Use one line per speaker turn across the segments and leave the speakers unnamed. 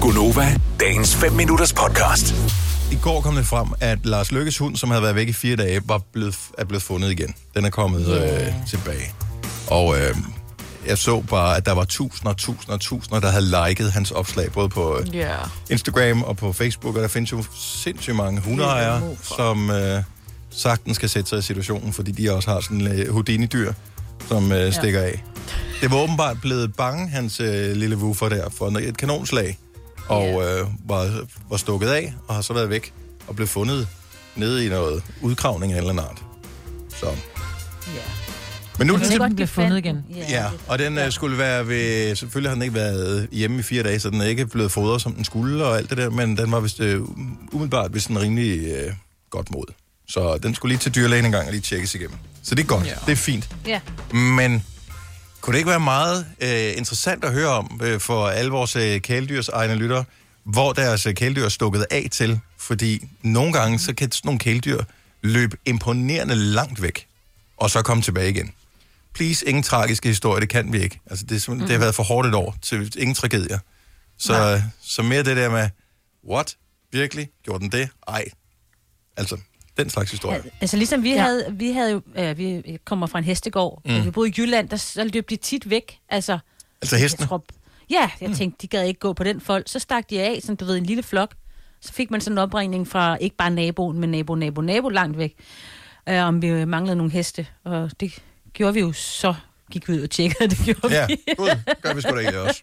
Gunova, dagens 5 minutters podcast.
I går kom det frem, at Lars Lykkes hund, som havde været væk i fire dage, var blevet, er blevet fundet igen. Den er kommet yeah. øh, tilbage. Og øh, jeg så bare, at der var tusinder, tusinder, tusinder, der havde liket hans opslag, både på øh,
Ja.
Instagram og på Facebook, og der findes jo sindssygt mange hundeejere, som øh, sagtens skal sætte sig i situationen, fordi de også har sådan øh, Houdini-dyr, som øh, stikker af. Det var åbenbart blevet bange, hans øh, lille woofer der, for et kanonslag, og øh, var, var stukket af, og har så været væk, og blev fundet nede i noget udgravning af en eller anden art. Så.
Ja.
Men nu er den
Jeg
til-
ved den blev fundet igen.
Ja, og den øh, skulle være ved... Selvfølgelig har den ikke været hjemme i fire dage, så den er ikke blevet fodret, som den skulle og alt det der, men den var vist, øh, umiddelbart vist en rimelig øh, godt mod. Så den skulle lige til dyrlægen en gang og lige tjekkes igennem. Så det er godt, ja. det er fint.
Ja.
Men kunne det ikke være meget øh, interessant at høre om øh, for alle vores øh, kæledyrs egne lyttere, hvor deres øh, kæledyr er stukket af til? Fordi nogle gange, så kan sådan nogle kæledyr løbe imponerende langt væk, og så komme tilbage igen. Please, ingen tragiske historier, det kan vi ikke. Altså, det, er simpelthen- det har været for hårdt et år til ingen tragedier. Så, så mere det der med, what? Virkelig? Gjorde den det? Ej. Altså, den slags historie.
Altså ligesom vi
Ja.
ja. havde, vi havde jo, øh, vi kommer fra en hestegård, mm. og vi boede i Jylland, der så løb de tit væk. Altså,
Altså
jeg
hesten.
tror, ja, jeg mm. tænkte, de gad ikke gå på den folk. Så stak de af, sådan du ved, en lille flok. Så fik man sådan en opringning fra ikke bare naboen, men nabo, nabo, nabo langt væk, øh, om vi manglede nogle heste. Og det gjorde vi jo så gik vi ud og tjekkede, og det gjorde
Ja,
vi.
gud, gør vi sgu da ikke også.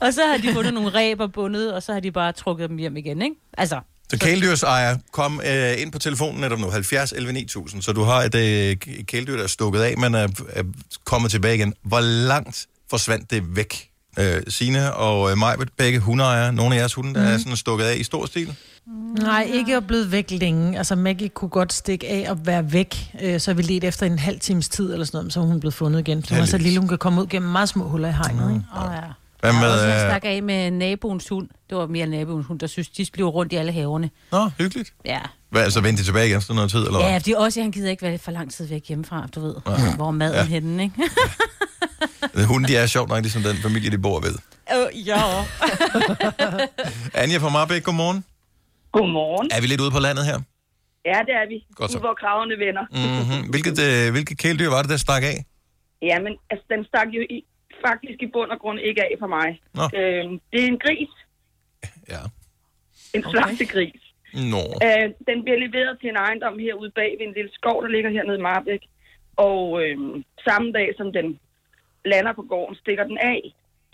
Og så har de fundet nogle ræber bundet, og så har de bare trukket dem hjem igen, ikke? Altså,
Så kæledyrsejere, kom øh, ind på telefonen netop nu, 70 11 9000, så du har et øh, k- kæledyr, der er stukket af, men er, er kommet tilbage igen. Hvor langt forsvandt det væk? Øh, Sine og øh, Majbet, begge hundeejere, nogle af jeres hunde, der mm. er sådan stukket af i stor stil.
Nej, ikke at blive væk længe. Altså Maggie kunne godt stikke af og være væk. Øh, Så vi ledte efter en halv times tid eller sådan noget, men så er hun blevet fundet igen. Så hun er så
Heldigvis.
lille, hun kan komme ud gennem meget små huller i hegnet. Ikke?
åh ja.
Hvad
Med, og så
med... Øh,
stak af med naboens hund. Det var mere naboens hund, der synes, de blev rundt i alle haverne.
nå, hyggeligt.
Ja.
Hvad, altså vendte de tilbage igen sådan noget tid, eller
Ja,
hvad?
fordi også han gider ikke være for lang tid væk hjemmefra, du ved. Ja. Hvor er maden
Ja.
ja. henne, ikke?
Yeah. Hunde, de er sjovt nok ligesom den familie, de bor ved.
øh, ja.
Anja fra Marbæk, godmorgen.
Godmorgen.
Er vi lidt ude på landet her?
Ja, det er vi.
Godt så.
Ude, hvor kravene vender. Mm.
Mm-hmm. Hvilket, øh, hvilket kæledyr var det, der stak af?
Jamen, altså, den stak jo i, faktisk i bund og grund ikke af for mig.
Nå.
Øhm, det er en gris.
Ja.
En okay. slagtegris.
Nå.
Øh, den bliver leveret til en ejendom herude bag ved en lille skov, der ligger hernede i Marbæk. Og øhm, samme dag, som den lander på gården, stikker den af.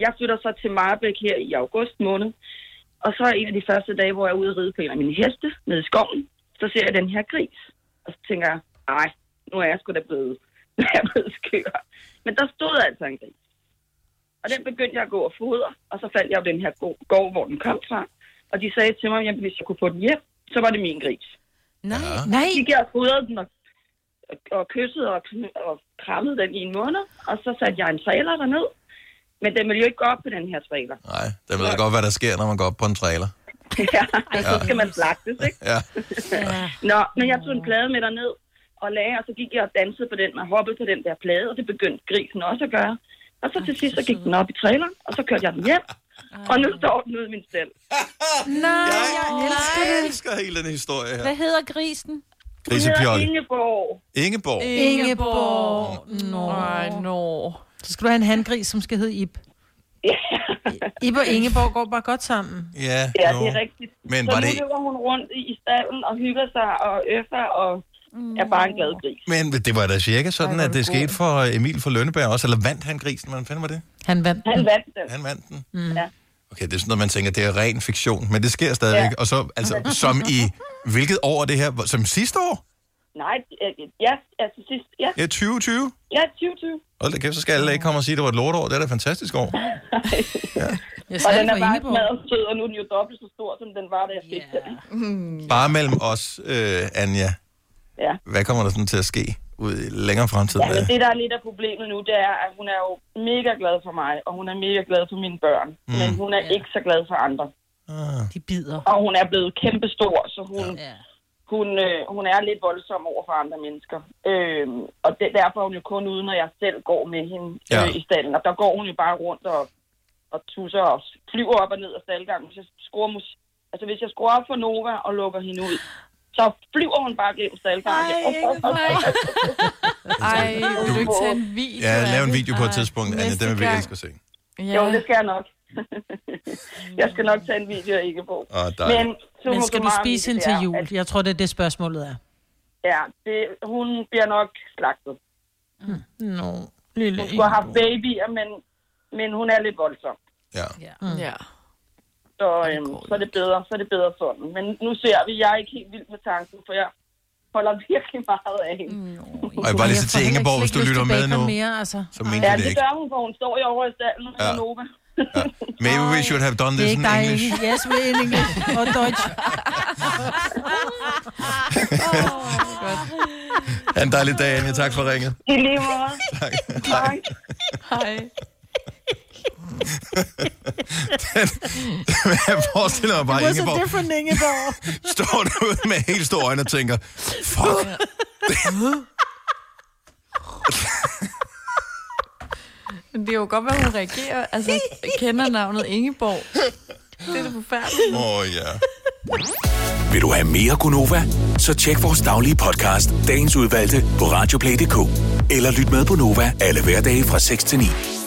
Jeg flytter så til Marbæk her i august måned. Og så er en af de første dage, hvor jeg er ude at ride på en af mine heste nede i skoven. Så ser jeg den her gris. Og så tænker jeg, nej, nu er jeg sgu da blevet, nu er jeg blevet skør. Men der stod altså en gris. Og den begyndte jeg at gå og fodre, og så fandt jeg jo den her go- gård, hvor den kom fra. Og de sagde til mig, at hvis jeg kunne få den hjem, så var det min gris.
Nej. Ja.
Nej,
Så gik jeg og fodrede den og, og, og kyssede og, kn- og krammede den i en måned, og så satte jeg en trailer derned. Men den ville jo ikke gå op på den her trailer.
Nej, der ved jeg godt, hvad der sker, når man går op på en trailer.
ja, så skal man slagtes, ikke?
Ja.
Ja.
Nå, men jeg tog en plade med derned og lagde, og så gik jeg og dansede på den og hoppede på den der plade, og det begyndte grisen også at gøre. Og så til sidst, så gik den op i traileren, og så kørte jeg den hjem, og nu står den ude i min stald.
Nej,
Jeg elsker,
nej.
jeg elsker hele den historie her.
Hvad hedder grisen?
Den hedder
Grisepjolle.
Ingeborg.
Ingeborg.
Øh, Mm. Ingeborg. Nå.
Ej, nå.
Så skal du have en handgris, som skal hedde Ib. Ib og Ingeborg går bare godt sammen.
Ja,
Ja,
jo.
det er rigtigt.
Men
så
var
nu
det-
løber hun rundt i, i stallen og hygger sig og øffer og er bare en glad gris.
Men det var da cirka sådan, at det skete for Emil fra Lønneberg også. Eller vandt han grisen? Hvordan fanden var det?
Han vandt.
Han vandt den.
Han vandt den.
Ja.
Okay, det er sådan noget, man tænker, det er ren fiktion. Men det sker stadigvæk. Ja. Og så, altså, som i... Hvilket år er det her? Som sidste år?
Nej, øh, ja, altså sidst, ja,
Ja, 2020.
ja, 2020.
Hold da kæft, så skal alle ikke komme og sige, at det var et lortår. Det er da et fantastisk år.
Jeg
Og
skal
den
for
er bare
Ingeborg.
smadret sød, og nu er den jo dobbelt så stor, som den var, da jeg fik den.
Bare mellem os, øh, Anja.
Ja.
Hvad kommer der sådan til at ske ud i længere fremtid?
Ja, men
med-
det, der er lidt af problemet nu, det er, at hun er jo mega glad for mig, og hun er mega glad for mine børn. Mm. Men hun er ja. ikke så glad for andre.
Ah.
De bider.
Og hun er blevet kæmpestor, så hun, ja.
Ja.
hun, øh, hun er lidt voldsom over for andre mennesker. Øhm, og det, derfor er hun jo kun ude, når jeg selv går med hende
Ja.
ja. øh, i stallen. Og der går hun jo bare rundt og og tusser og flyver op og ned af staldgangen. Hvis jeg scorer, mus- altså, hvis jeg scorer op for Nova og lukker hende ud, så flyver hun bare gennem staldgangen.
Ej, ikke for mig. Ej, vil du ikke tage en video?
Ja,
af
lav en
det?
video på et
Ej,
tidspunkt, Anne.
næste
Den vil vi
gang.
elske at se.
Ja.
Jo, det skal jeg nok. jeg skal nok tage en video af ikke på.
Åh, dejligt.
Men, summa
Men skal du
summarum,
spise
det
hende til
er,
jul?
at-
Jeg tror, det er det, spørgsmålet er.
Ja, det, hun bliver nok slagtet.
Nå, lille
Hun skulle have haft babyer, men, men hun er lidt voldsom.
Ja.
Ja.
Så, øhm,
går
så er det bedre, så er det bedre sådan. Men nu ser vi, jeg er ikke helt vild med tanken, for jeg holder virkelig meget af hende. Mm.
Og jeg bare lige så til Ingeborg, hvis du lytter med nu,
Mere, altså.
så mente
Ja,
jeg det
det
ikke.
gør hun, for hun står jo over i stallen med
Ja.
ja. Nova.
Maybe we should have done
Det er
this in
ikke dig,
English.
Inge. Yes, we in English og Deutsch.
Ha' en dejlig dag, Anja. Tak for ringet.
I lige måde. Tak.
Hej.
Jeg forestiller mig bare,
What's a
Ingeborg
different Ingeborg?
står derude med helt store øjne og tænker, fuck.
Men det er jo godt, hvad hun reagerer. Altså, kender navnet Ingeborg. Det er det forfærdeligt.
Åh, oh, ja.
Vil du have mere Gunova? Så tjek vores daglige podcast, dagens udvalgte, på radioplay.dk. Eller lyt med på Nova alle hverdage fra 6 til 9.